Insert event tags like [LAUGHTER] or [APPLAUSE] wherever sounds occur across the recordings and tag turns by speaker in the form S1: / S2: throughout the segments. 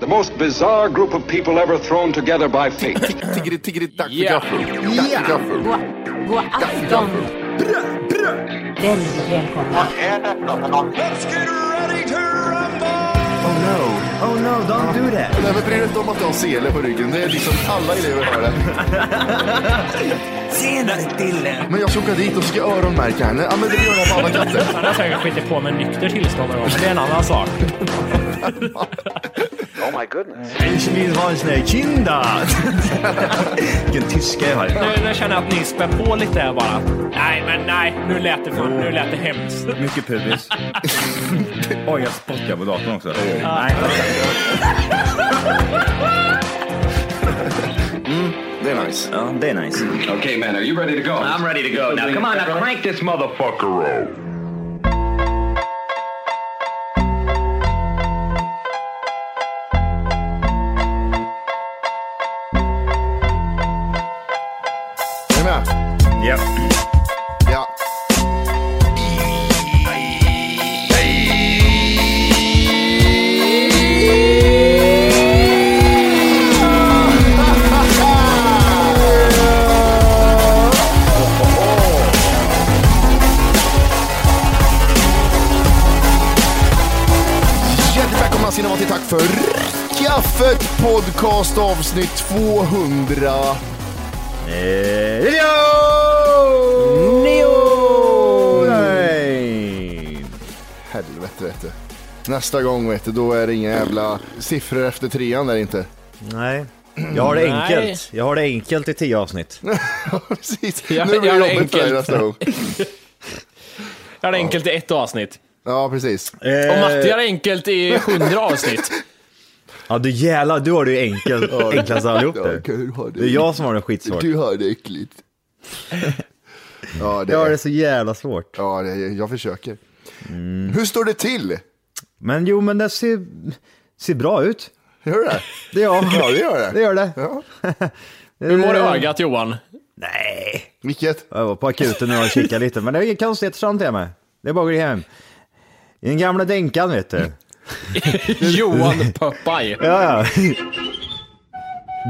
S1: The most bizarre group of people ever thrown together by fate.
S2: Tiggeri, tiggeri, dack för gaffel. Dack för gaffel.
S3: God afton! Väldigt välkomna.
S4: Oh no, oh no, don't do that.
S2: Nej, men bry dig inte om att jag har sele på ryggen. Det är liksom alla elever har det.
S4: Senare Dille.
S2: Men jag ska åka dit och ska öronmärka henne. Ja, men det gör jag på alla katter.
S5: Han har säkert skitit på med nykter tillstånd någon gång, men det är en annan sak.
S4: Ich will hans nej, Kinder. [LAUGHS] Vilken tyska jag har.
S5: Nu, nu känner jag att ni spär på lite här bara. Nej, men nej. Nu lät det, fan, nu lät det hemskt.
S4: Mycket pubis. Oj, jag spottar på datorn också. Nej,
S2: Det är nice.
S4: ja, det är nice.
S1: okay, man, are you ready to go? I'm ready to go. Now, come on, now crank this motherfucker up.
S2: Är ni med?
S4: Ja.
S2: Ja. Hjärtligt välkomna ska ni vara till Tack för kaffet podcast avsnitt 200. Eh,
S4: Neo! Neo! Nej.
S2: Mm. Helvete vet du. Nästa gång vet du, då är det inga jävla siffror efter trean där inte. [LAUGHS]
S4: Nej. Jag har det enkelt. Jag har det enkelt i tio avsnitt.
S2: Precis,
S5: Ja,
S2: nu blir
S5: ja,
S2: det jobbigt för dig
S5: enkelt.
S2: nästa gång.
S5: Jag hade enkelt i ett avsnitt.
S2: Ja, precis.
S5: Och Matti hade enkelt i hundra avsnitt.
S4: Ja, du jävlar, du har det ju enkelt. Enklast av allihop
S2: Ja,
S4: du.
S2: kan du ha det?
S4: Det är jag som har det skitsvårt.
S2: Du har det
S4: [LAUGHS]
S2: äckligt. Ja, det
S4: Jag har det
S2: är,
S4: så jävla svårt.
S2: ja det är, jag försöker.
S4: Mm.
S2: Hur står det till?
S4: Men jo, men det ser, ser bra ut.
S2: Gör du det?
S4: Det [LAUGHS] ja.
S2: Ja, det gör det.
S4: Det gör det. [LAUGHS]
S2: Ja.
S5: Hur mår
S2: Eh.
S5: ögat Johan?
S4: Nej.
S2: Vilket?
S4: Jag var på akuten nu och kikade lite, men det är inga konstigheter fram till mig. Det är bara att gå hem. I den gamla dänkan vet du.
S5: [LAUGHS] Johan Popeye.
S4: Ja, ja.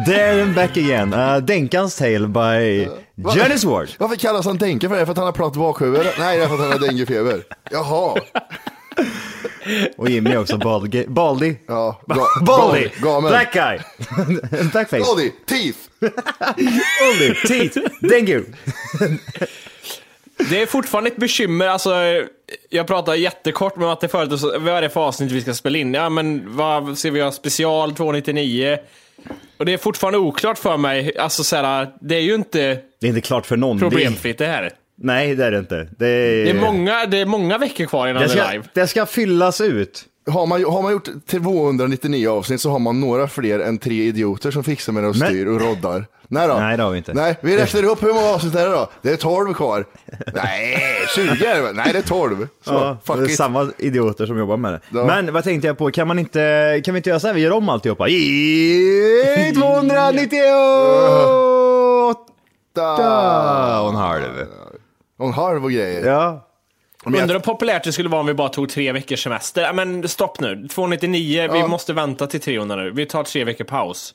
S4: There and back again. Uh, Denkans tale by Janice Ward.
S2: Varför kallas han Denke för det? För att han har platt bakhuvud? Nej, det är för att han har denguefeber. Jaha.
S4: Och Jimmy också, Baldi. Baldi.
S2: Ja,
S4: [LAUGHS]
S2: ga,
S4: Baldi.
S2: ga- Gamen.
S4: Black guy.
S2: [LAUGHS]
S4: Blackface. Baldi.
S2: Baldi. Teeth.
S4: Teeth. Dengue.
S5: Det är fortfarande ett bekymmer. Alltså, jag pratade jättekort med Matte förut. och så, Vad är det för avsnitt vi ska spela in? Ja, men vad ser vi? ha Special 299. Och det är fortfarande oklart för mig. Alltså, så här, det är ju inte
S4: Det är inte klart för någon. Det är,
S5: problemfritt det här.
S4: nej, det är det inte. Det är,
S5: Det är många, det är många veckor kvar innan
S4: det,
S5: det är
S4: ska,
S5: live.
S4: det ska fyllas ut.
S2: Har man, har man gjort 299 avsnitt så har man några fler än tre idioter som fixar med det och
S4: Men-
S2: styr och roddar. Nej då.
S4: Nej, det har vi inte.
S2: Nej, vi räknar upp hur många avsnitt är det då? Det är 12
S4: [LAUGHS]
S2: kvar. Nej, 20 är det väl? Nej, det är 12. Så,
S4: Ja, det är
S2: fuck it.
S4: samma idioter som jobbar med det.
S2: Ja.
S4: Men vad tänkte jag på, kan man inte, kan vi inte göra så här, vi gör om alltihopa? [LAUGHS] I 298
S2: Da.
S4: Ah, och en halv.
S2: Och en halv och grejer.
S4: Ja,
S2: jag-
S5: Undrar hur populärt det skulle vara om vi bara tog tre veckors semester. Ja, Men stopp nu, 299, vi måste vänta till 300 nu. Vi tar tre veckor paus.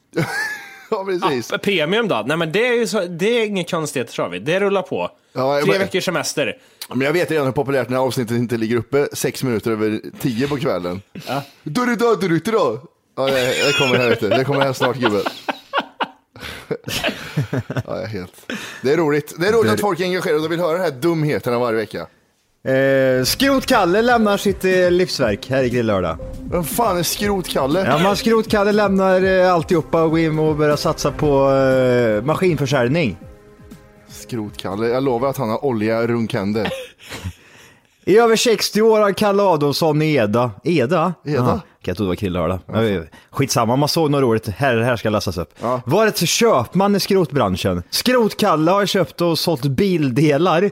S2: ja, precis.
S5: Ja, Ah, premium då? Nej men det är ju så, det är inget konstigt tror vi. Det rullar på.
S2: Ja, jag-
S5: Tre veckors semester.
S2: Men jag vet redan hur populärt när avsnittet inte ligger uppe sex minuter över tio på kvällen. Då är det död du ute då! Ja, det, det kommer här ute. Det kommer här snart gubben. ja, jag är helt... Det är roligt. Det är roligt att folk är engagerade och vill höra de här dumheterna varje vecka.
S4: Eh, Skrotkalle lämnar sitt eh, livsverk här i Grillördag.
S2: Vem fan är Skrotkalle?
S4: Ja, man Skrotkalle lämnar eh, alltihopa och går in och börjar satsa på eh, maskinförsäljning.
S2: Skrotkalle. Jag lovar att han har olja runkänder.
S4: I över 60 år har Kalle Adolfsson i Eda. Eda?
S2: Eda?
S4: Ja, jag trodde det var Krillehörda. Skitsamma, man såg något roligt. Här, här ska läsas upp.
S2: Ja.
S4: Varit köpman i skrotbranschen. Skrotkalle har köpt och sålt bildelar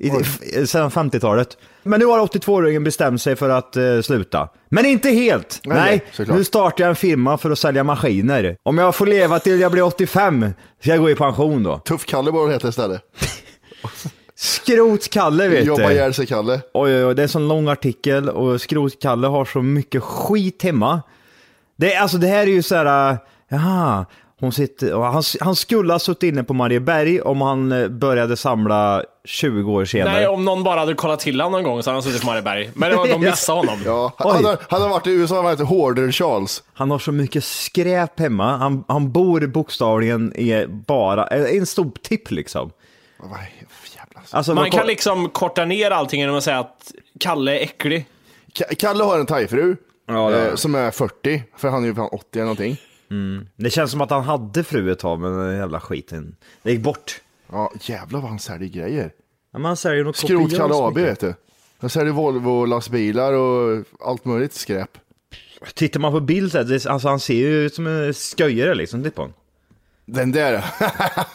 S4: i, f- sedan 50-talet. Men nu har 82-åringen bestämt sig för att eh, sluta. Men inte helt!
S2: Nej,
S4: Nej,
S2: såklart.
S4: nu startar jag en firma för att sälja maskiner. Om jag får leva till jag blir 85 ska jag gå i pension då.
S2: Tuff-Kalle borde han heta istället.
S4: Skrotkalle vet
S2: Jobba
S4: du.
S2: ihjäl sig-Kalle.
S4: Oj, oj, oj, det är en sån lång artikel och Skrotkalle har så mycket skit hemma. Det, är- alltså det här är ju så här, äh, jaha, hon sitter, och han, han skulle ha suttit inne på Marieberg om han eh, började samla 20 år senare.
S5: Nej, om någon bara hade kollat till honom någon gång så hade han suttit på Marieberg. Men det var, de missade honom.
S2: [LAUGHS] Ja,
S4: Oj.
S2: han, hade, han hade varit i USA han hade varit Hoarder-Charles.
S4: Han har så mycket skräp hemma, han, han bor bokstavligen i bara, eh, i en stor tipp liksom.
S2: Vad jävla-
S4: Alltså,
S5: Man
S4: vad-
S5: kan liksom korta ner allting genom att säga att Kalle är äcklig.
S2: Ka- Kalle har en thaifru
S4: Ja, det har
S2: eh,
S4: han.
S2: som är 40, för han är ju fan 80 eller någonting.
S4: Det känns som att han hade fru ett tag men den jävla skiten, det gick bort.
S2: Ja, jävlar vad han säljer grejer.
S4: Ja, men han säljer nog kopiöst
S2: Skrot-Kalle AB
S4: mycket.
S2: vet du. Han säljer Volvo-lastbilar och allt möjligt skräp.
S4: Tittar man på bild så här, det, alltså han ser ju ut som en sköjare liksom, titta på honom.
S2: Den där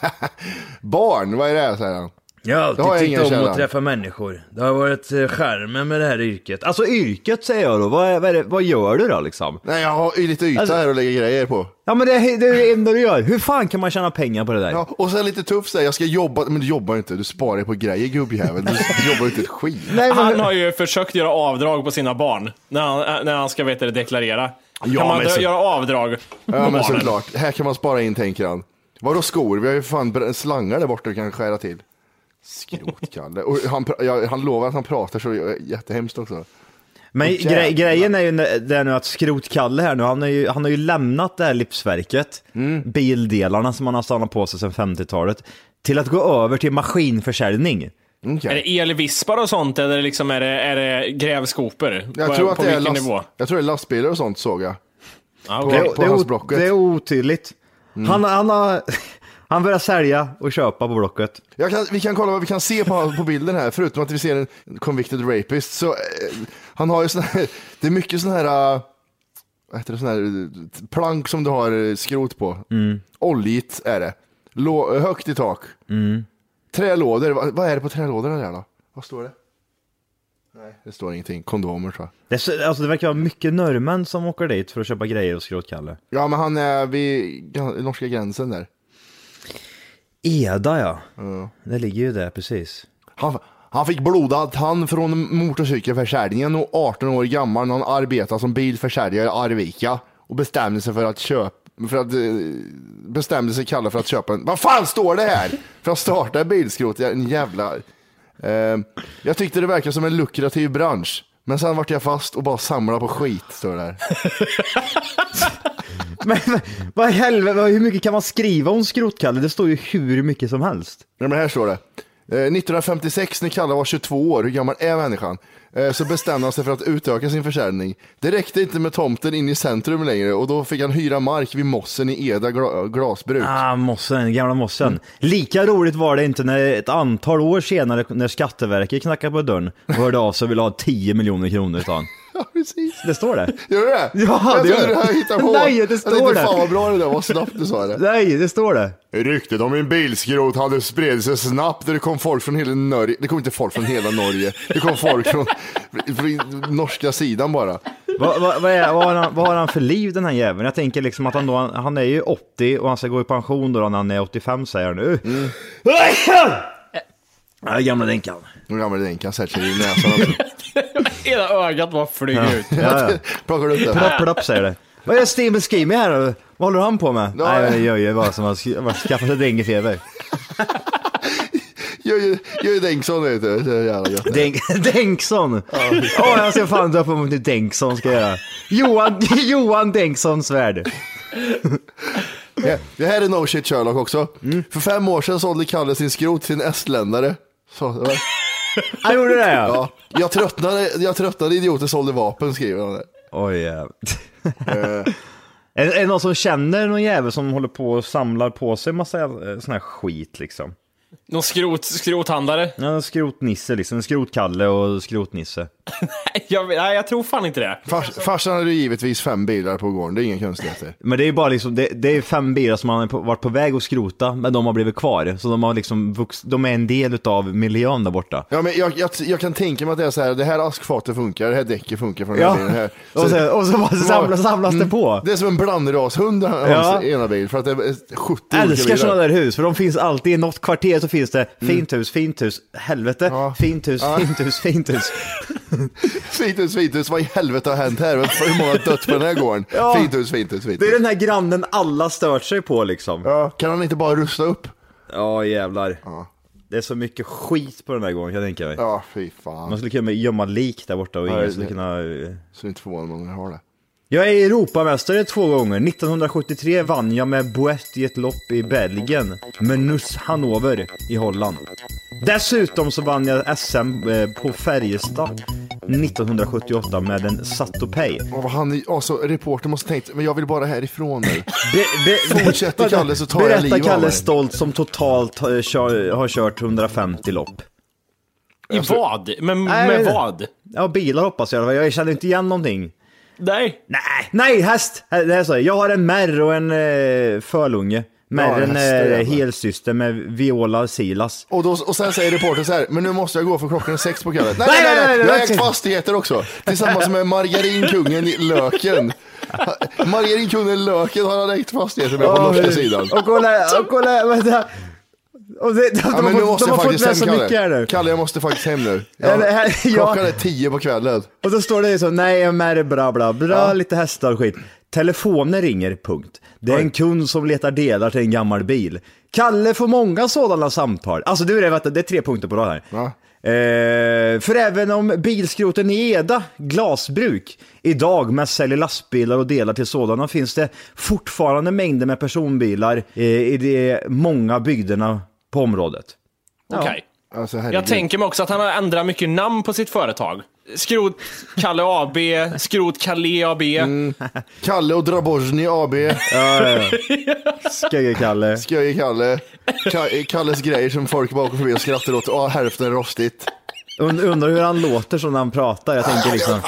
S2: [LAUGHS] Barn, vad är det här säger han.
S4: Jag har
S2: Det har jag
S4: alltid
S2: ingen
S4: tyckt om
S2: källa.
S4: att träffa människor. Det har varit eh, charmen med det här yrket. Alltså yrket säger jag då, vad, är, vad, är det, vad gör du då liksom?
S2: Nej, jag har ju lite yta
S4: Alltså-
S2: här att lägga grejer på.
S4: Ja men det, är- det är det enda du gör. Hur fan kan man tjäna pengar på det där?
S2: Ja, och sen lite tuff säger jag ska jobba, men du jobbar ju inte, du sparar ju på grejer gubbjävel. Du jobbar ju inte ett skit.
S4: Nej, men,
S5: Han har ju försökt göra avdrag på sina barn när han, när han ska vet, det, deklarera.
S2: Ja,
S5: kan man
S2: men
S5: dö-
S2: så-
S5: göra avdrag på
S2: Ja men
S5: barnen?
S2: såklart, här kan man spara in tänker han. Vadå skor? Vi har ju fan br- slangar där borta du kan skära till. Skrotkalle. Och han, pr- ja, han lovar att han pratar så jättehemskt också.
S4: men
S2: jävlar.
S4: gre, grejen är ju nä- det är nu att Skrotkalle här nu, han, är ju, han har ju lämnat det här livsverket,
S2: Mm.
S4: bildelarna som han har stannat på sig sedan 50-talet, till att gå över till maskinförsäljning.
S5: Är
S2: Okej.
S5: det elvispar och sånt eller liksom är, det, är det grävskopor?
S2: Jag
S5: på
S2: tror, att
S5: på
S2: det är
S5: vilken
S2: last,
S5: nivå?
S2: jag tror det är lastbilar och sånt såg jag.
S5: Ja,
S2: Det
S5: okej.
S2: är- på
S4: det,
S2: hans
S4: o-
S2: Blocket.
S4: det är otydligt. Han, han, har, [LAUGHS] han börjar sälja och köpa på Blocket.
S2: jag kan, vi kan kolla vad vi kan se på, på bilden här, förutom att vi ser en convicted rapist. Så, eh, han har ju sån här, det är mycket sån här, eh, vad heter det, sån här eh, plank som du har eh, skrot på. Mm. Oljigt är det. Lå, högt i tak. Trälådor, vad, vad är det på trälådorna där då? Vad står det? Nej, det står ingenting. Kondomer tror jag.
S4: Det, är så- alltså, det verkar vara mycket norrmän som åker dit för att köpa grejer och skrotkalle.
S2: Ja, men han är vid gan- norska gränsen där.
S4: Eda ja. Det ligger ju där precis. [LAUGHS]
S2: Han, han fick blodad tand från motorcykelförsäljningen och 18 år gammal när han arbetade som bilförsäljare i Arvika och bestämde sig för att köpa för att eh, bestämde sig Kalle för att köpa en, vad fan står det här? För att starta en bilskrot, en jävla... Eh, jag tyckte det verkade som en lukrativ bransch, men sen vart jag fast och bara samlade på skit, står det här.
S4: Men vad i helvete, vad- hur mycket kan man skriva om skrotkalle? Det står ju hur mycket som helst.
S2: Ja, men här står det. Eh, 1956 när Kalle var 22 år, hur gammal är människan? Eh, Så bestämde han sig för att utöka sin försäljning. Det räckte inte med tomten in i centrum längre och då fick han hyra mark vid mossen i Eda gla- glasbruk.
S4: Ah, mossen, gamla mossen. Mm. Lika roligt var det inte när ett antal år senare när Skatteverket knackade på dörren och hörde av sig och ville ha 10 miljoner kronor utav [LAUGHS] han.
S2: Ja, precis.
S4: Det står det.
S2: Gör du det?
S4: Ja,
S2: jag trodde
S4: det gör
S2: du
S4: det.
S2: hade hittat [LAUGHS] på.
S4: Nej, det
S2: jag
S4: står
S2: tänkte,
S4: där.
S2: fan vad bra det där var, snabbt du sa det.
S4: Nej, det står det.
S2: [LAUGHS] Ryktet om en bilskrot hade spridit sig snabbt och det kom folk från hela Norge. Det kom inte folk från hela Norge. Det kom folk från, [LAUGHS] från norska sidan bara.
S4: Vad, vad, vad, är, vad, har han, vad har han för liv den här jäveln? Jag tänker liksom att han då, han är ju 80 och han ska gå i pension då när han är 85 säger han nu. Mm. Nej, gamla Denkan.
S2: Nu ramlar det en kassett i näsan alltså. också.
S5: Ena ögat bara flyger ut.
S4: Ja, ja.
S2: Plockar du upp det?
S4: Plopp, plopp säger det. Vad är Steven Schemi här då? Vad håller han på med?
S2: Ja.
S4: Nej, jag gör ju bara som han sk- bara skaffar sig denguefeber.
S2: Jojje Jojje Bengtsson vet du. Det är jävla gött.
S4: [LAUGHS] Denk, Denksson! Ja, jag ser fan döpa mig till Denksson ska jag göra. Johan, [LAUGHS] Johan Denksson Svärd.
S2: Ja, Det här är No Shit Sherlock också. För fem år sedan sålde Kalle sin skrot till en estländare. Så, det var-
S4: Han gjorde det ja.
S2: ja. jag, tröttnade, jag tröttnade idioter sålde vapen skriver han. där.
S4: Oj jävlar.
S2: Eh.
S4: [LAUGHS] är, är det någon som känner någon jävel som håller på och samlar på sig massa eh, sån här skit liksom?
S5: Någon skrot, skrothandlare?
S4: Ja, en skrotnisse liksom. En skrotkalle och skrotnisse.
S5: [LAUGHS] Nej, Jag, nej, jag tror fan inte det.
S2: Fars, farsan hade ju givetvis fem bilar på gården, det är inga konstigheter.
S4: Men det är ju bara liksom, det, det är fem bilar som man har på- varit på väg att skrota, men de har blivit kvar. Så de har liksom vuxit, de är en del utav miljön där borta.
S2: Ja, men jag, jag, jag kan tänka mig att det är så här, det här askfatet funkar, det här däcket funkar från den här
S4: Ja,
S2: bilen. Här. Mm.
S4: och så, och så bara samlas, samlas det på.
S2: Det är som en blandrashund han-
S4: Ja.
S2: hans ena bil, för att det är 70 olika
S4: Älskar sådana
S2: bilar.
S4: där hus, för de finns alltid i något kvarter så finns det fint hus, fint hus, helvete,
S2: Mm. Ja.
S4: fint hus, fint hus, fint hus.
S2: Finthus, finthus, vad i helvete har hänt här? Hur många har dött på den här gården?
S4: Ja.
S2: Finthus, finthus,
S4: Det är
S2: finthus.
S4: den här grannen alla stört sig på liksom.
S2: Ja, kan han inte bara rusta upp?
S4: Ja jävlar. Det är så mycket skit på den här gången kan jag tänka mig.
S2: Ja, fy fan.
S4: Man skulle kunna gömma lik där borta och
S2: det-
S4: ingen skulle kunna... eh,
S2: Så det är inte förvånande om jag har det.
S4: Jag är Europamästare två gånger. 1973 vann jag med Boett i ett lopp i Belgien. Med Nuss Hannover i Holland. Dessutom så vann jag SM eh, på Färjestad 1978 med en Satopay.
S2: Och han, alltså, reportern måste tänkt, men jag vill bara härifrån nu.
S4: Be, be, [LAUGHS]
S2: Fortsätter
S4: vänta.
S2: Kalle så tar jag
S4: Berätta
S2: livet av
S4: Kalle
S2: mig.
S4: Stolt som totalt eh, kör, har kört 150 lopp.
S5: I vad?
S4: Nej,
S5: Med, med
S4: men-
S5: vad?
S4: Ja, bilar hoppas jag. Jag känner inte igen någonting.
S5: Nej.
S4: Nej, nej häst! Det här sa jag. Jag har en märr och en eh, förlunge. Märren
S2: hästar,
S4: är
S2: jävlar.
S4: helsyster med Viola Silas.
S2: Och, då, och sen säger reportern så här, men nu måste jag gå för klockan är sex på kvällen. Nej,
S4: Nej,
S2: nej, nej,
S4: nej, nej,
S2: jag har
S4: nej.
S2: ägt fastigheter också. Tillsammans med margarinkungen i
S4: [LAUGHS]
S2: Löken. Margarinkungen Löken har han ägt fastigheter med på
S4: Ja,
S2: norska
S4: men-
S2: sidan.
S4: Och kolla, och kolla, vänta. Och det, de,
S2: Ja,
S4: de,
S2: men nu
S4: har, fått-
S2: måste
S4: de har
S2: jag
S4: fått
S2: faktiskt
S4: med
S2: hem
S4: så mycket här
S2: Kalle.
S4: nu.
S2: Kalle, jag måste faktiskt hem
S4: [LAUGHS]
S2: nu.
S4: Eller,
S2: Ja,
S4: här- ja.
S2: klockan är tio på kvällen.
S4: Och då står det så, nej jag är med dig, bra bra bra, lite hästar och skit. Telefonen ringer, punkt. Det är en kund som letar delar till en gammal bil. Kalle får många sådana samtal. Alltså du, det, vänta, det är tre punkter på rad här.
S2: Ja.
S4: Eh, för även om bilskroten i Eda glasbruk idag med säljer lastbilar och delar till sådana finns det fortfarande mängder med personbilar eh, i de många bygderna på området.
S5: Okej.
S2: Alltså,
S5: Jag
S2: herregud.
S5: tänker mig också att han har ändrat mycket namn på sitt företag. Skrot Kalle AB, Skrot Kalle AB.
S2: Kalle och Drabozny AB,
S4: Sköje Kalle.
S2: Sköje Kalle. Ka- Kalles grejer som folk bakom förbi och skrattar åt. Ja, hälften är rostigt.
S4: Und, undrar hur han låter som när han pratar, jag tänker liksom.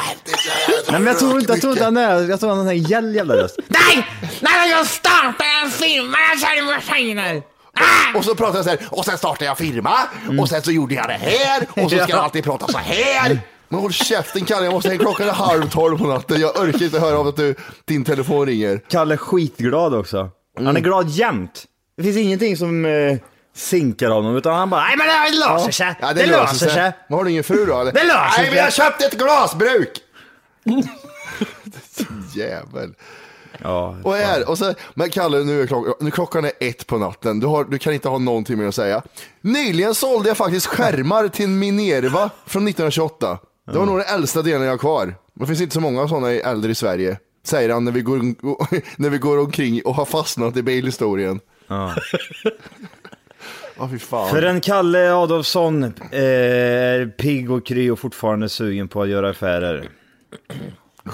S4: Nej men jag tror inte, jag tror inte han är, jag tror han har en gäll jävla röst.
S6: Nej! Nej, jag startar en firma, jag säljer maskiner! Ah!
S2: Och så pratar jag så här, och sen startade jag firma,
S4: Mm.
S2: och sen så gjorde jag det här, och
S4: [LAUGHS]
S2: så ska jag alltid prata så här. Men håll käften Kalle, jag måste hem klockan är halv tolv på natten. Jag orkar inte höra av att du, din telefon ringer.
S4: Kalle är skitglad också. Han är glad jämt. Det finns ingenting som eh, sinkar honom utan han bara, nej men det löser sig.
S2: Ja,
S4: det, löser sig.
S2: Men har du ingen fru då? Eller?
S4: Det löser
S2: Nej, men
S4: sig.
S2: jag köpte ett
S4: [LAUGHS]
S2: glasbruk! Jävel.
S4: Ja,
S2: Och här, och så, men Kalle, nu är klockan, nu klockan är ett på natten. Du, har, du kan inte ha någonting mer att säga. Nyligen sålde jag faktiskt skärmar till Minerva från 1928. Det var nog den äldsta delen jag har kvar. Det finns inte så många sådana äldre i Sverige. Säger han när vi, går, när vi går [LAUGHS] omkring och har fastnat i bilhistorien. [LAUGHS] Ja, fy fan.
S4: För en Kalle Adolfsson eh, är pigg och kry och fortfarande sugen på att göra affärer. Ja.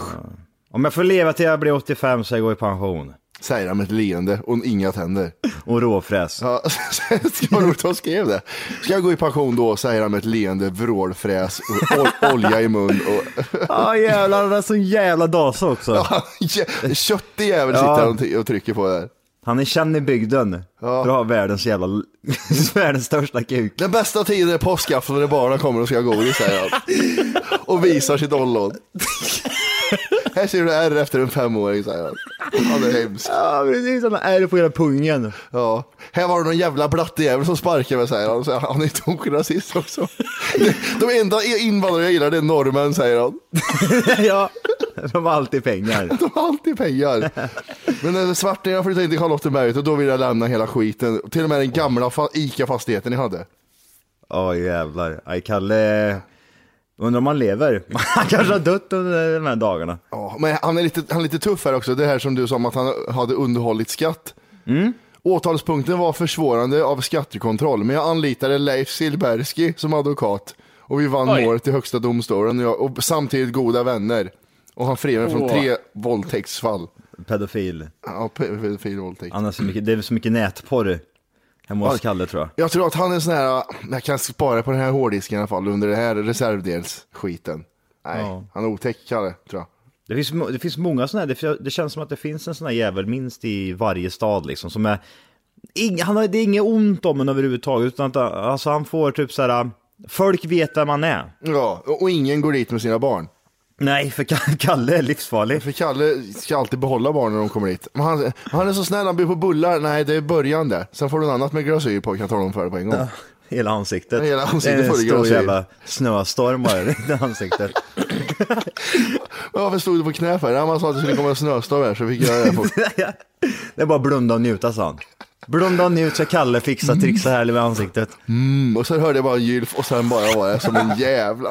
S4: Om jag får leva till jag blir 85 så jag går i pension.
S2: Säger han med ett leende och inga tänder.
S4: Och råfräs.
S2: Ja, [LAUGHS] ska vad roligt han skrev det. Ska jag gå i pension då, säger han med ett leende, vrålfräs, och ol- olja i mun och [LAUGHS]
S4: Ja jävlar, han är så jävla dasa också.
S2: Ja, Köttig jävel sitter han och ty- och trycker på där.
S4: Han är känd i bygden för att ha världens jävla, [LAUGHS] världens största kuk.
S2: Den bästa tiden är påskafton när barnen kommer och ska ha godis, säger han. Och visar sitt ollon. Här ser du ärr efter en femåring, säger han. Han är hemsk.
S4: Ja precis, han har ärr på hela pungen.
S2: Ja. Här var det någon jävla blattejävel som sparkade mig, säger han. Så han är tokrasist också. De enda invandrare jag gillar, det är norrmän, säger han.
S4: ja. [LAUGHS] De har alltid pengar.
S2: De har alltid pengar. Men när svartingen flyttade in till Charlottenberget och då ville jag lämna hela skiten. Till och med den gamla fa- ICA-fastigheten jag hade.
S4: Åh jävlar. Aj, Kalle. Undrar om han lever. Han kanske har dött under de här dagarna.
S2: Ja, men han är, lite, han är lite tuff här också. Det här som du sa om att han hade underhållit skatt. Åtalspunkten var försvårande av skattekontroll, men jag anlitade Leif Silberski som advokat och vi vann
S5: Oj.
S2: målet i högsta domstolen och, jag, och samtidigt goda vänner. Och han friade mig från
S5: Åh.
S2: tre våldtäktsfall.
S4: Pedofil.
S2: Ja, pedofil våldtäkt.
S4: Han har så mycket, det är så mycket nätporr hemma hos Kalle tror jag.
S2: Jag tror att han är sån här, jag kan spara på den här hårddisken i alla fall under det här reservdelsskiten. Nej,
S4: Ja.
S2: han är otäck Kalle, tror jag.
S4: Det finns, mo- det finns många sådana här, det, det känns som att det finns en sån här jävel minst i varje stad liksom som är... Ing, han har, det är inget ont om en överhuvudtaget utan att, alltså han får typ så här. Folk vet vem man är.
S2: Ja, och och ingen går dit med sina barn.
S4: Nej, för Ka- [LAUGHS] Kalle är livsfarlig.
S2: För Kalle ska alltid behålla barnen när de kommer dit. Men han, han är så snäll, han bjuder på bullar. Nej, det är början det. Sen får du något annat med glasyr på, kan jag tala om för dig på en gång.
S4: Hela ansiktet.
S2: Hela ansiktet
S4: Det är en
S2: får det
S4: stor
S2: grasa i.
S4: jävla snöstorm bara i ansiktet.
S2: Varför stod du på knä för? Ja, Man sa att det skulle komma en snöstorm här, så fick jag det. På.
S4: Det är bara blunda och njuta sa han. Blunda och njut så Kalle fixar trixa här med ansiktet.
S2: Mm, och sen hörde jag bara en gylf och sen bara var jag som en jävla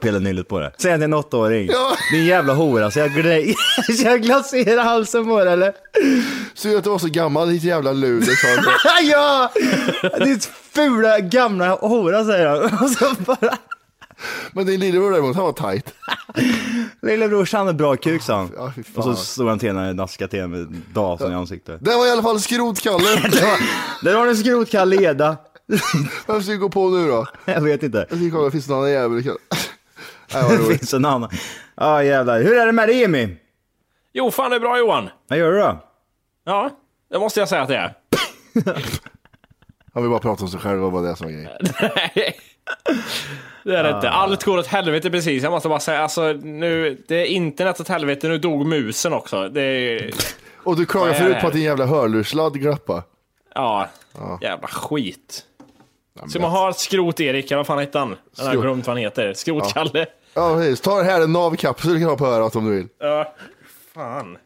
S4: Pilla nyllet på det. Säg att det är en åttaåring. Din jävla hora, så jag, gla- [LAUGHS] så jag glaserar halsen på det eller?
S2: [LAUGHS] Synd att du var så gammal, ditt jävla luder. sa han.
S4: ja! Ditt fula gamla hora säger han. [LAUGHS] Och så bara,
S2: Men din lillebror däremot, han var tight.
S4: lillebror han är bra kuk sa han.
S2: Ja, fy fan.
S4: Och så stod han till henne och naskade till henne med dasen i ansiktet.
S2: Det var i alla fall skrotkalle.
S4: Där har du skrotkalle Eda.
S2: Vem ska vi gå på nu då?
S4: Jag vet inte.
S2: Jag ska kolla, finns det någon annan jävel? Nej, vad
S4: Det
S2: roligt.
S4: finns en annan. Ja jävlar. Hur är det med dig Jimmy?
S5: Jo, fan det är bra Johan.
S4: Vad gör du då?
S5: Ja, det måste jag säga att det är.
S2: Han vill bara prata om sig själv, det var bara det som var grejen.
S5: Nej. Det är det inte. Allt går åt helvete precis. Jag måste bara säga, alltså nu, det är internet åt helvete. Nu dog musen också. Det är,
S2: Och du klagar
S5: Vad är det
S2: förut på
S5: här?
S2: att din jävla hörlurssladd glappade.
S5: ja, jävla skit. Så man har Skrot-Erik, eller vad fan hette han? Jag har
S2: Skrot-
S5: glömt vad han heter. Skrot-Kalle.
S2: Ja, precis. Ta det här, en navkapsel du kan ha på örat om du vill.
S5: Ja. Fan.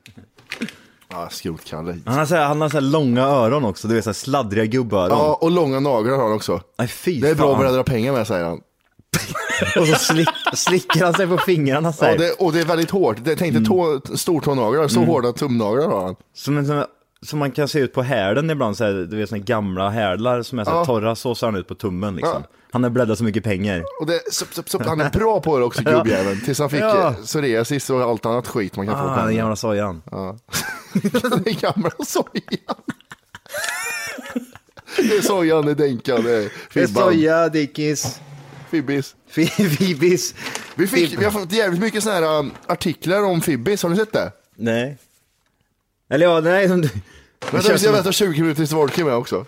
S2: Ja, skrotkalle.
S4: Han har så här, han har så här långa öron också. Du vet så här sladdriga gubböron.
S2: Ja, och långa naglar har han också.
S4: Nej fy
S2: Det är bra
S4: fan.
S2: att börja dra pengar med, säger han.
S4: Och så slick, slickar han sig på fingrarna så
S2: Ja,
S4: här.
S2: det, och det är väldigt hårt. Det, tänk
S4: Mm.
S2: dig tå, stortånaglar, så hårda tumnaglar har han.
S4: Som, en, som, som man kan se ut på härden ibland, så här, du vet såna gamla härdlar som är så här,
S2: Ja.
S4: torra, så ser han ut på tummen liksom.
S2: Ja.
S4: Han har bläddrat så mycket pengar.
S2: Och det, sup, sup, sup, han är bra på det
S4: [LAUGHS]
S2: också, gubbjäveln. Tills han fick
S4: Ja.
S2: ja. psoriasis och allt annat skit man kan få [LAUGHS]
S4: Ah,
S2: på
S4: den
S2: den.
S4: gamla sojan.
S2: Den gamla sojan.
S4: [LAUGHS]
S2: Det är sojan, det är Denkan, det är
S4: Det är
S2: Fibban,
S4: soja, Dickis,
S2: Fibbis.
S4: fi- [LAUGHS] Fibis.
S2: Vi, fick,
S4: Fib-
S2: vi har fått jävligt mycket såna här um, artiklar om Fibbis, har ni sett det?
S4: Nej. Eller ja, nej. Som du... Det
S2: Vänta,
S4: känns
S2: vi ska
S4: som...
S2: vänta 20 minuter tills Volke är med
S4: [LAUGHS]
S2: också.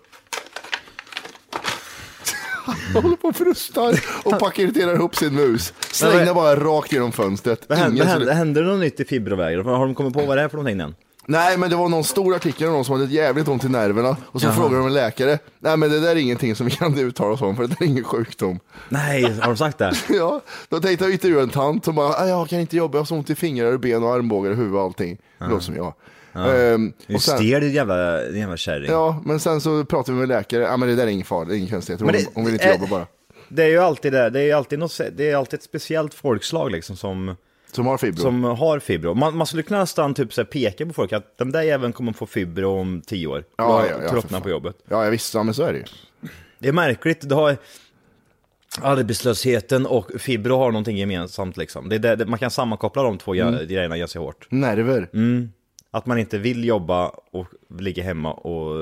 S2: Han håller på och frustar och paketerar ihop sin mus. Släng den bara rakt genom fönstret.
S4: Vad händer,
S2: Ingen
S4: vad händer,
S2: skulle...
S4: händer det något nytt i fibrovägar? Har de kommit på vad det är för någonting än?
S2: Nej, men det var någon stor artikel om någon som hade ett jävligt ont i nerverna och så frågade de en läkare. Nej, men det där är ingenting som vi kan uttala oss om för det där är ingen sjukdom. [LAUGHS]
S4: Nej, har de sagt det?
S2: Ja, då tänkte jag intervjua en tant som bara, "Ah, jag kan inte jobba, jag har så ont i fingrar, och ben och armbågar och huvud och allting. Det låter som jag. Ehm,
S4: Du är
S2: och sen-
S4: stel din jävla, din jävla kärring.
S2: Ja, men sen så pratade vi med läkare. Ja, men det där är ingen fara, det är ingen konstighet. Hon,
S4: Men
S2: det,
S4: det-
S2: hon vill inte
S4: eh,
S2: jobba bara.
S4: Det är ju alltid det, det är ju alltid något, se- det är alltid ett speciellt folkslag liksom som,
S2: Som har fibro.
S4: som har fibro. Man, man skulle kunna nästan typ så här peka på folk att den där jäveln kommer få fibro om tio år.
S2: Ja,
S4: Bara
S2: ja, ja, för
S4: tröttna
S2: fan.
S4: på jobbet.
S2: Ja, jag visste, ja, men så är det ju.
S4: Det är märkligt, det har... Arbetslösheten och fibro har någonting gemensamt liksom. Det är det, det, man kan sammankoppla de två mm. grejerna ganska hårt.
S2: Nerver.
S4: Mm. Att man inte vill jobba och ligga hemma och...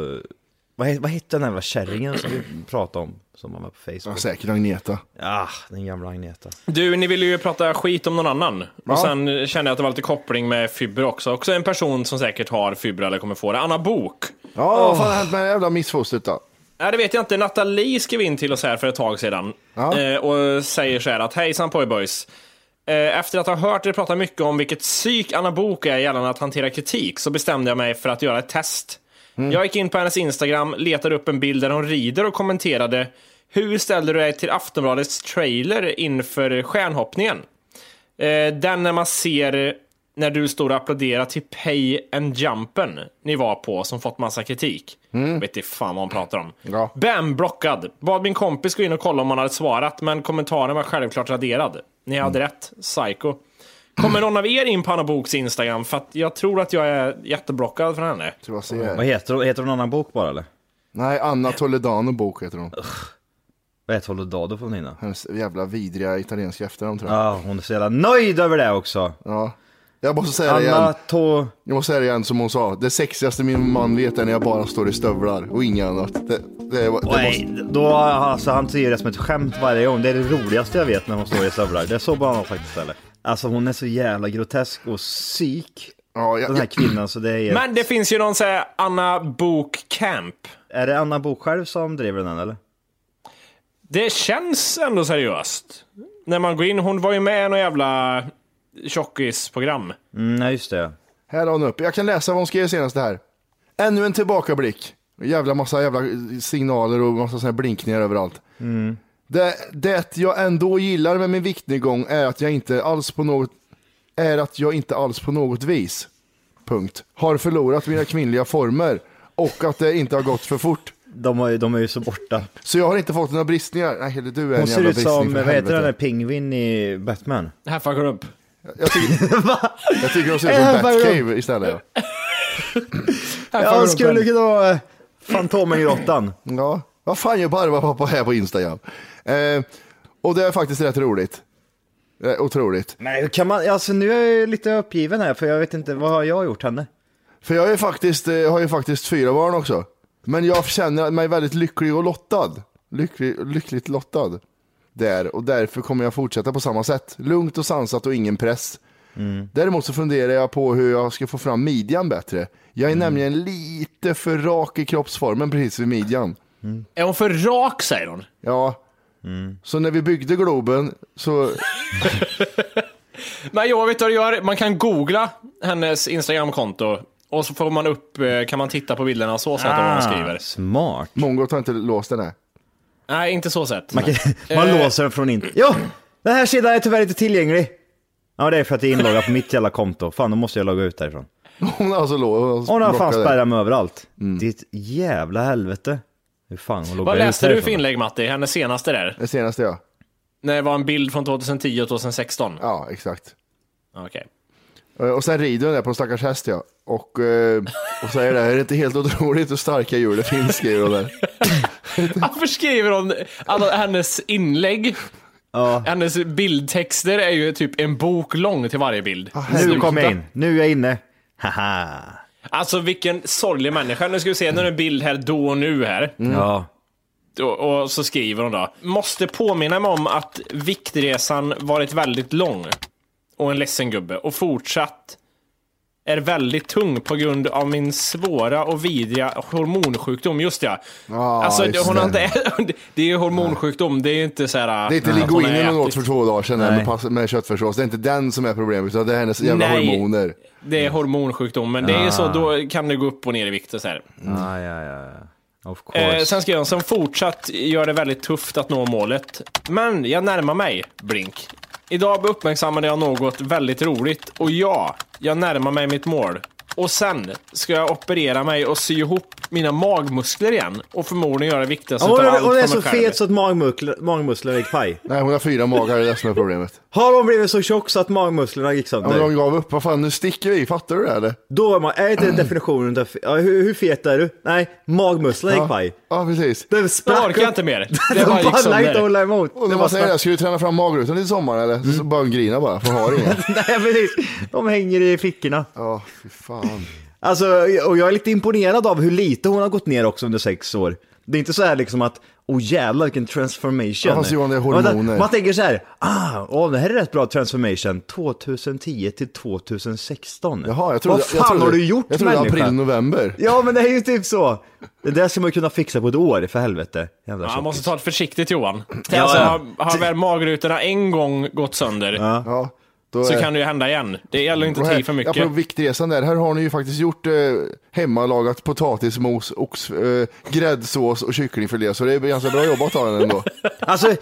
S4: Vad, he- vad hette den där jävla kärringen som vi pratade om? Som man var på
S2: Ja,
S4: Facebook?
S2: säkert Agneta.
S4: Ah, den gamla Agneta.
S5: Du, ni ville ju prata skit om någon annan.
S2: Ja.
S5: Och sen kände jag att det var lite koppling med fibrer också. Också en person som säkert har fibrer eller kommer få det. Anna Bok.
S2: Ja, vad fan har hänt med det jävla missfostret då?
S5: Nej, det vet jag inte. Nathalie skrev in till oss här för ett tag sedan
S2: Ja.
S5: eh, och säger så här att hejsan pojboys. Eh, Efter att ha hört er prata mycket om vilket psyk Anna Bok är gällande att hantera kritik så bestämde jag mig för att göra ett test. Jag gick in på hennes Instagram, letade upp en bild där hon rider och kommenterade Hur ställde du dig till Aftonbladets trailer inför stjärnhoppningen? Eh, Den när man ser när du står och applåderar till Pay and Jumpen ni var på som fått massa kritik. Vet inte fan vad hon pratar om.
S2: Ja.
S5: Bam, blockad. Bad min kompis gå in och kolla om han hade svarat, men kommentaren var självklart raderad. Ni hade rätt, psycho. Kommer någon av er in på Anna Boks Instagram? För att jag tror att jag är jätteblockad från henne.
S2: Ska bara se här.
S4: Vad heter hon? Heter hon annan bok bara eller?
S2: Nej, Anna Toledano Bok heter hon.
S4: Vad heter Toledado på Nina?
S2: Hennes jävla vidriga italienska efternamn tror jag.
S4: Ja, ah, hon är så jävla nöjd över det också.
S2: Ja. Jag måste säga det
S4: Anna
S2: igen.
S4: To...
S2: Jag måste säga det igen som hon sa. Det sexigaste min man vet är när jag bara står i stövlar och inget annat. Det, det, det måste...
S4: Nej, då alltså, han säger det som ett skämt varje gång. Det är det roligaste jag vet när hon står i stövlar. Det är så bara hon faktiskt eller? Alltså hon är så jävla grotesk och psyk.
S2: Ja, jag,
S4: Den här
S2: jag,
S4: kvinnan så det är...
S5: Men det finns ju någon så här Anna Bok Camp.
S4: Är det Anna Bok själv som driver den eller?
S5: Det känns ändå seriöst. När man går in, hon var ju med i något jävla tjockisprogram.
S4: Mm, nej just det.
S2: här har hon upp. Jag kan läsa vad hon skrev senast det här. Ännu en tillbakablick. Jävla massa jävla signaler och massa såna här blinkningar överallt.
S4: Mm.
S2: Det, det jag ändå gillar med min viktnedgång är att jag inte alls på något är att jag inte alls på något vis punkt, har förlorat mina kvinnliga former och att det inte har gått för fort.
S4: De, har, ju- de är ju så borta.
S2: Så jag har inte fått några bristningar. Nej, heller du är en
S4: Hon ser
S2: jävla
S4: ut
S2: bristning
S4: som,
S2: för
S4: vad heter den där
S2: helvete.
S4: pingvin i Batman?
S5: Här fuckar upp.
S2: Jag tycker, jag tycker hon ser ut som
S4: Äh, vad är det?
S2: Batcave istället.
S4: Ja,
S5: Här fuckar
S4: hon
S5: upp
S4: skulle
S5: henne.
S4: kunna vara eh,
S5: [LAUGHS]
S4: Fantomengrottan.
S2: Ja, vad fan gör Barbapapa här på Instagram? Eh, och det är faktiskt rätt roligt. Eh, otroligt.
S4: Men kan man, alltså nu är jag ju lite uppgiven här för jag vet inte, vad har jag gjort henne?
S2: För jag är faktiskt, eh, har ju faktiskt fyra barn också. Men jag känner mig väldigt lycklig och lottad. Lycklig, lyckligt lottad. Där, och därför kommer jag fortsätta på samma sätt. Lugnt och sansat och ingen press. Däremot så funderar jag på hur jag ska få fram midjan bättre. Jag är nämligen lite för rak i kroppsformen precis vid midjan.
S5: Är hon för rak säger hon?
S2: Ja. Så när vi byggde Globen så
S5: Men jag vet vad du gör. Man kan googla hennes Instagramkonto och så får man upp, eh, kan man titta på bilderna så sett ah. vad hon skriver. [LAUGHS]
S4: Smart.
S2: Mongot har inte låst den här.
S5: Nej, inte så sett.
S4: Man, kan, man
S5: Eh.
S4: låser den från in... Ja! Den här sidan är tyvärr inte tillgänglig. Ja, det är för att det är inloggat på mitt jävla konto. Fan, då måste jag logga ut därifrån.
S2: Hon har alltså låst.
S4: Hon har fan spärrat mig överallt. Ditt jävla helvete. Hur fan hon loggar
S5: Vad
S4: ut
S5: läste du
S4: därifrån?
S5: för inlägg Matti? Hennes senaste där?
S2: Det senaste ja.
S5: När det var en bild från 2010 och 2016?
S2: Ja, exakt.
S5: Okej.
S2: Eh, Och sen rider hon där på en stackars häst ja. Och, eh, och säger det, här, är det inte helt otroligt hur starka djur det finns? skriver hon där.
S5: Varför skriver hon alla hennes inlägg?
S4: Ja.
S5: Hennes bildtexter är ju typ en bok lång till varje bild.
S4: Nu kom jag in. Nu är jag inne. Haha.
S5: Alltså vilken sorglig människa. Nu ska vi se, nu är det en bild här då och nu här.
S4: Ja.
S5: Och, och så skriver hon då. Måste påminna mig om att viktresan varit väldigt lång. Och en ledsen gubbe. Och fortsatt är väldigt tung på grund av min svåra och vidriga hormonsjukdom. Just ja.
S2: Ja,
S5: alltså,
S2: just
S5: hon har
S2: det.
S5: inte, [LAUGHS] det är ju hormonsjukdom. Det är ju inte så här...
S2: Det är inte
S5: att hon har
S2: linguinen hon åt
S5: ätit-
S2: för två dagar sedan där med,
S4: Nej.
S2: pass- med köttfärssås. Det är inte den som är problemet utan det är hennes jävla
S5: Nej.
S2: hormoner.
S5: Det är hormonsjukdom, men det är ju
S2: Ah.
S5: så, då kan det gå upp och ner i vikt och så här.
S4: Ah, ja, ja, ja. Of course.
S5: Mm. Eh, sen skrev hon, som fortsatt gör det väldigt tufft att nå målet. Men jag närmar mig, Blink. Idag uppmärksammade jag något väldigt roligt och ja, jag närmar mig mitt mål. Och sen ska jag operera mig och sy ihop mina magmuskler igen. Och förmodligen göra det viktigaste
S4: Hon
S5: utav
S4: är,
S5: allt
S4: hon är
S5: för
S4: så
S5: mig själv.
S4: fet så att magmuskler- magmusklerna gick paj.
S2: Nej, hon har fyra magar, det är det som är problemet.
S4: Har hon blivit så tjock så att magmusklerna gick
S2: Ja, men
S4: sönder?
S2: de gav upp, vad fan, nu sticker vi, fattar du det eller?
S4: Då är man, är inte det definitionen av, ja, hur, hur fet är du? Nej, magmusklerna gick paj.
S2: Ja, precis.
S4: Den
S5: Då
S4: sprack [LAUGHS]
S5: orkar jag
S4: upp.
S5: inte mer. Det
S4: Den
S5: bara gick
S4: pallar inte
S5: sönder.
S4: hålla emot.
S2: Och när
S4: Den
S2: man
S4: bara
S2: säger
S4: sprack.
S2: det, ska du träna fram magrutan i sommar eller?
S4: Mm.
S2: Så bara grina bara, för har
S4: [LAUGHS]
S2: inget.
S4: Nej precis, de hänger i fickorna.
S2: Ja, fy fan.
S4: Alltså, och jag är lite imponerad av hur lite hon har gått ner också under sex år. Det är inte så här liksom att, oh jävlar vilken transformation.
S2: Ja, fast Johan, det är hormoner.
S4: Man, man tänker så här, ah, åh, det här är rätt bra transformation, 2010 till 2016.
S2: Jaha, jag trodde...
S4: Vad fan
S2: jag trodde,
S4: har du gjort
S2: Jag trodde
S4: människa?
S2: april, november.
S4: Ja men det är ju typ så. Det där ska man ju kunna fixa på ett år, för helvete. Jävla
S5: Ja,
S4: tjockis.
S5: man måste ta det försiktigt Johan.
S4: Ja,
S5: alltså,
S4: ja.
S5: Har, har väl magrutorna en gång gått sönder
S2: Ja, då
S5: så
S2: är-
S5: kan det ju hända igen. Det gäller inte
S2: och
S5: att
S2: här-
S5: ta i för mycket.
S2: Ja, på viktresan där, här har ni ju faktiskt gjort eh, hemmalagat potatismos, ox, eh, gräddsås och kycklingfilé, så det är ganska bra jobbat av henne
S4: [LAUGHS]
S2: ändå.
S4: Alltså,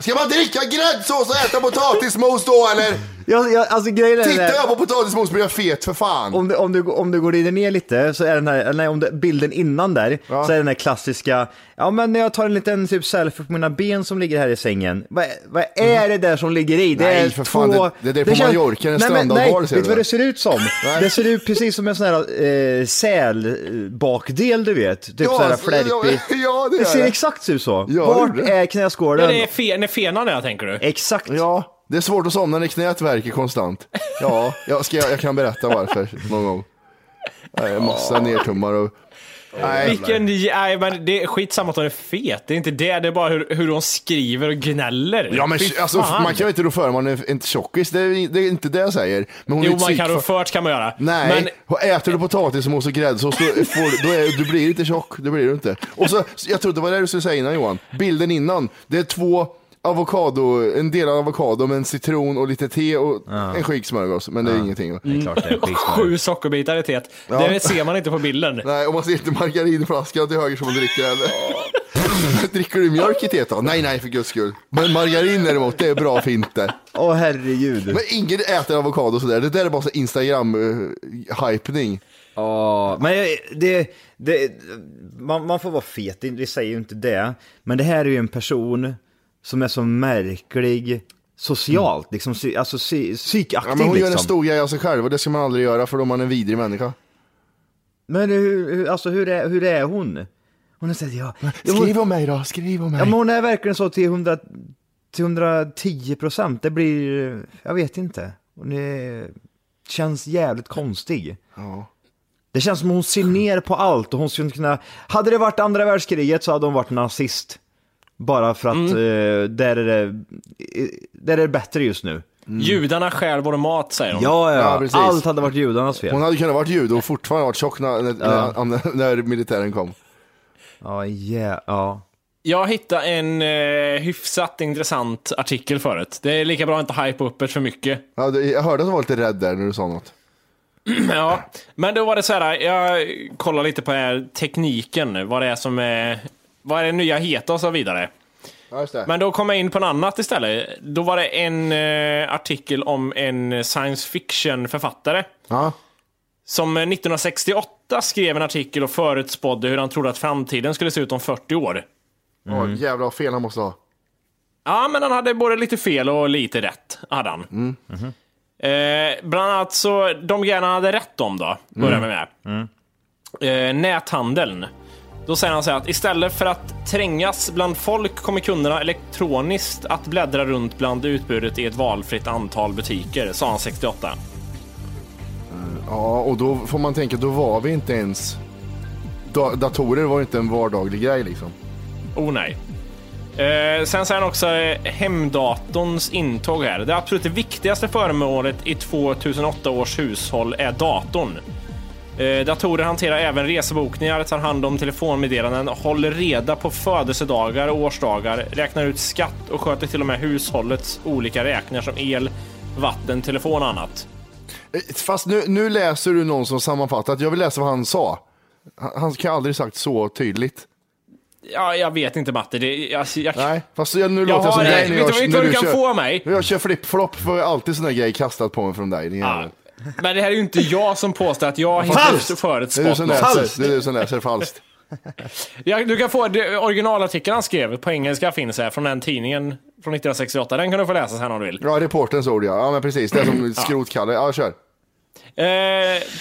S2: Ska man dricka gräddsås och äta potatismos då eller?
S4: jag, jag, alltså grejen är den
S2: Tittar
S4: här-
S2: jag på potatismos blir jag fet för fan.
S4: Om du, om, du, om du går in ner lite, så är den här, nej, om det, bilden innan där,
S2: Ja.
S4: så är den här klassiska, ja men jag tar en liten typ selfie på mina ben som ligger här i sängen. Vad vad är det där som ligger i? Det
S2: Mm. Nej,
S4: är
S2: för fan,
S4: två...
S2: det- det- det är på Mallorca, en
S4: Nej, men-
S2: strandad
S4: Nej,
S2: bar
S4: vet
S2: ser
S4: du
S2: du
S4: vad
S2: där.
S4: det ser ut som?
S2: [LAUGHS] Nej.
S4: Det ser ut precis som en sån här eh, sälbakdel du vet, typ
S2: Ja,
S4: så här
S2: ja,
S4: flärpig.
S2: ja, det gör
S4: ser
S2: det.
S4: exakt ut så.
S2: Ja, det
S4: Vart
S2: gör det.
S4: är
S5: Ja,
S4: knäskålen?
S5: det är fe- när fenan är, tänker du?
S4: Exakt.
S2: Ja, det är svårt att somna när knät värker konstant. Ja, jag, ska, jag kan berätta varför någon gång. Nej, massa nertummar och... Nej,
S5: Vilken... Nej, men det är skitsamma att hon är fet. Det är inte det. Det är bara hur, hur hon skriver och gnäller.
S2: ja, men,
S5: Fy
S2: alltså,
S5: fan.
S2: man kan ju inte rå för man är inte tjockis, det är, det är inte det jag säger. Men hon är
S5: Jo,
S2: ett
S5: man
S2: psyk-
S5: kan rå för kan man göra.
S2: Nej,
S5: Men
S2: och äter du potatismos och gräddsås då, får, då är, du blir du inte tjock, det blir du inte. Och så, jag trodde det var det du skulle säga innan Johan, bilden innan, det är två avokado, en delad avokado med en citron och lite te och en skik smörgås, men det är ingenting.
S4: Det är klart det är skitsnödigt.
S5: sju sockerbitar i teet. Det ser man inte på bilden.
S2: Nej, och man ser inte margarinflaskan till höger som man dricker
S5: [LAUGHS]
S2: heller. dricker du mjölk i teet då? Nej, nej för guds skull. Men margarin däremot, det är bra för inte.
S4: Åh herregud.
S2: Men ingen äter avokado sådär, det där är bara så eh, Instagram-hypning.
S4: Ja, men jag- det, det, man, man får vara fet, det- det säger ju inte det. Men det här är ju en person som är så märklig socialt, liksom, sy- alltså psy- psykaktiv
S2: Ja, men hon gör en
S4: liksom.
S2: stor grej av sig själv och det ska man aldrig göra för då är man en vidrig människa.
S4: Men hur, hur, alltså, hur, är, hur är hon? Hon är såhär, ja, ja, hon,
S2: Skriv om mig då, skriv om mig.
S4: ja, men hon är verkligen så till, 100, till 110 procent. Det blir, jag vet inte. Hon är, känns jävligt konstig.
S2: Ja.
S4: Det känns som hon ser ner på allt och hon skulle kunna... Hade det varit andra världskriget så hade hon varit nazist. Bara för att
S2: Mm.
S4: eh, där, är det, eh, där är det bättre just nu.
S5: Judarna stjäl vår mat, säger hon.
S4: Ja,
S2: Mm. Ja,
S4: ja,
S2: precis.
S4: allt hade varit judarnas fel.
S2: Hon hade kunnat varit jude och fortfarande varit tjock när, när, när, när militären kom.
S4: Ja, yeah, ja.
S5: Jag hittade en eh, hyfsat intressant artikel förut. Det är lika bra att inte hypa upp det för mycket. [CLEARS THROAT]
S2: Ja, det- jag hörde att hon var lite rädd där när du sa något.
S5: Ja, men då var det så här. Jag kollar lite på den här tekniken. Vad det är som är... Vad är det nya heta och så vidare.
S2: Ja, just det.
S5: Men då kom jag in på något annat istället. Då var det en eh, artikel om en science fiction-författare.
S2: Ja.
S5: Som eh, 1968 skrev en artikel och förutspådde hur han trodde att framtiden skulle se ut om 40 år.
S2: Åh, jävlar vad fel han måste ha.
S5: Ja, men han hade både lite fel och lite rätt, hade han. Eh, bland annat så, de grejerna han hade rätt om då, börjar vi med. Eh, näthandeln. Då säger han så här att istället för att trängas bland folk kommer kunderna elektroniskt att bläddra runt bland utbudet i ett valfritt antal butiker, sa han 68.
S2: Ja, och då får man tänka, då var vi inte ens... Da- datorer var ju inte en vardaglig grej liksom.
S5: Oh nej. Eh, sen säger han också eh, hemdatorns intåg här. Det absolut viktigaste föremålet i 2008 års hushåll är datorn. Eh, datorer hanterar även resebokningar, tar hand om telefonmeddelanden, håller reda på födelsedagar och årsdagar, räknar ut skatt och sköter till och med hushållets olika räkningar som el, vatten, telefon och annat.
S2: Eh, Fast nu, nu läser du någon som sammanfattat, jag vill läsa vad han sa. Han, han kan aldrig sagt så tydligt.
S5: Ja, jag vet inte Matte. Det, jag, jag,
S2: Nej, fast jag, nu
S5: jag
S2: låter jag som
S5: har det.
S2: dig när
S5: Vet du-
S2: jag,
S5: vet du
S2: när
S5: vad du kan
S2: kör,
S5: få mig?
S2: När jag kör flip-flop får jag alltid såna grejer kastat på mig från dig. din
S5: Ja,
S2: jävel.
S5: Men det här är ju inte jag som påstår att jag hittar
S4: Falskt!
S2: Det är du
S5: förutspått
S2: som
S5: något.
S2: läser, det är du som läser falskt.
S5: Ja, du kan få det, originalartikeln han skrev på engelska finns här från den tidningen från 1968. Den kan du få läsa sen om du vill.
S2: Ja, reporterns ord ja. Ja men precis, det är
S5: [CLEARS THROAT]
S2: som skrotkalle. Ja, kör.
S5: Eh,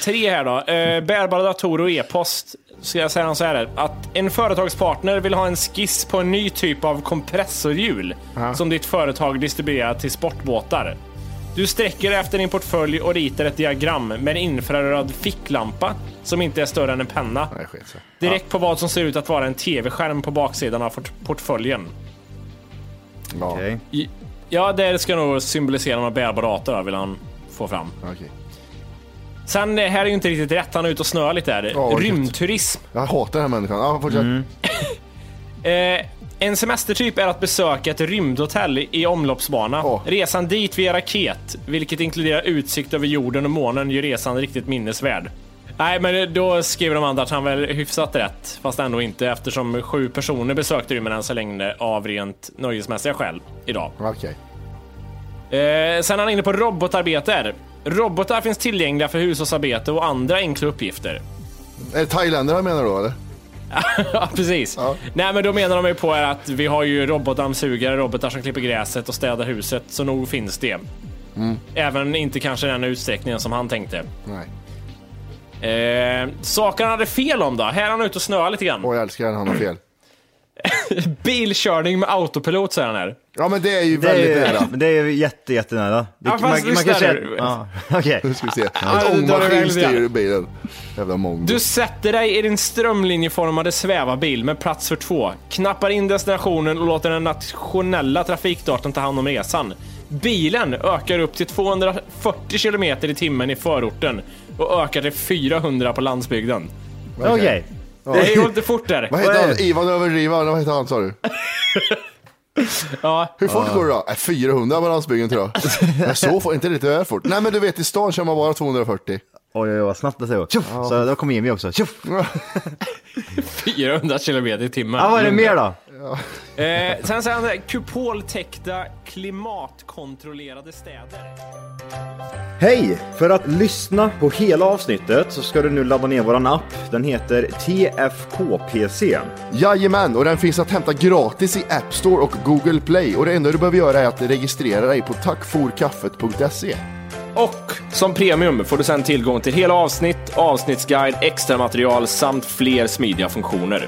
S5: tre här då. Eh, bärbara datorer och e-post. Ska jag säga dem så här? Att en företagspartner vill ha en skiss på en ny typ av kompressorhjul som ditt företag distribuerar till sportbåtar. Du sträcker efter din portfölj och ritar ett diagram med en infraröd ficklampa som inte är större än en penna.
S2: Nej, skit så.
S5: Direkt på vad som ser ut att vara en tv-skärm på baksidan av fort- portföljen.
S2: Ja, okej.
S4: Okej.
S5: I- Ja, det ska nog symbolisera någon bärbar dator då, vill han få fram. Sen, eh, här är ju inte riktigt rätt. Han är ute och snöar lite här.
S2: Ja, vad
S5: Rymdturism.
S2: Jag hatar den här människan. Ja, fortsätt.
S5: Eh, en semestertyp är att besöka ett rymdhotell i omloppsbana.
S2: Åh.
S5: Resan dit via raket, vilket inkluderar utsikt över jorden och månen, gör resan riktigt minnesvärd. Nej, men då skriver de andra att han väl hyfsat rätt, fast ändå inte eftersom sju personer besökte rymden än så länge av rent nöjesmässiga skäl idag.
S2: Okej.
S5: Eh, sen är han inne på robotarbetar. Robotar finns tillgängliga för hushållsarbete och andra enkla uppgifter. [LAUGHS]
S2: Är det thailändare han menar då eller?
S5: Ja, precis.
S2: Ja.
S5: Nej, men då menar de ju på är att vi har ju robotdammsugare, robotar som klipper gräset och städar huset, så nog finns det. Även inte kanske i den utsträckningen som han tänkte.
S2: Nej.
S5: Eh, saker han hade fel om då? Här är han ute och snöar lite grann.
S2: Åh, jag älskar den, han har fel.
S5: [LAUGHS] Bilkörning med autopilot säger han här.
S2: Ja men det är ju
S4: Det
S2: väldigt
S4: är,
S2: nära.
S4: det är jätte, jättenära. Det,
S5: Ja, fast lyssna nu.
S4: ja, [LAUGHS] okej.
S2: Nu ska vi se.
S5: Ja,
S2: En
S5: det drar iväg
S2: ångmaskin
S5: lite grann.
S2: styr bilen. Jävla mongo.
S5: Du sätter dig i din strömlinjeformade svävarbil med plats för två, knappar in destinationen och låter den nationella trafikdatorn ta hand om resan. Bilen ökar upp till 240 km i timmen i förorten och ökar till 400 på landsbygden.
S4: Okej.
S5: Det går lite fort där.
S2: Vad heter
S4: [LAUGHS] Vad är
S2: han?
S4: det?
S2: Ivan Överdriva, eller vad heter han sa du?
S5: Ja.
S2: Hur fort går det då? Äh, 400 på landsbygden tror
S5: [LAUGHS]
S2: jag. Nej, så fort, inte lite väl fort. Nej men du vet i stan kör man bara 240.
S4: Oj, oj, oj, vad snabbt det går. Tjoff! Så då kom Jimmy också. Tjoff!
S5: 400 km i timmen.
S4: Ja, vad är det mer då?
S5: Eh, sen säger han så här, kupoltäckta klimatkontrollerade städer.
S4: Hej! För att lyssna på hela avsnittet så ska du nu ladda ner våran app. Den heter TFKPC.
S2: Jajamän, och den finns att hämta gratis i App Store och Google Play. Och det enda du behöver göra är att registrera dig på tackforkaffet.se.
S5: Och som premium får du sedan tillgång till hela avsnitt, avsnittsguide, extra material samt fler smidiga funktioner.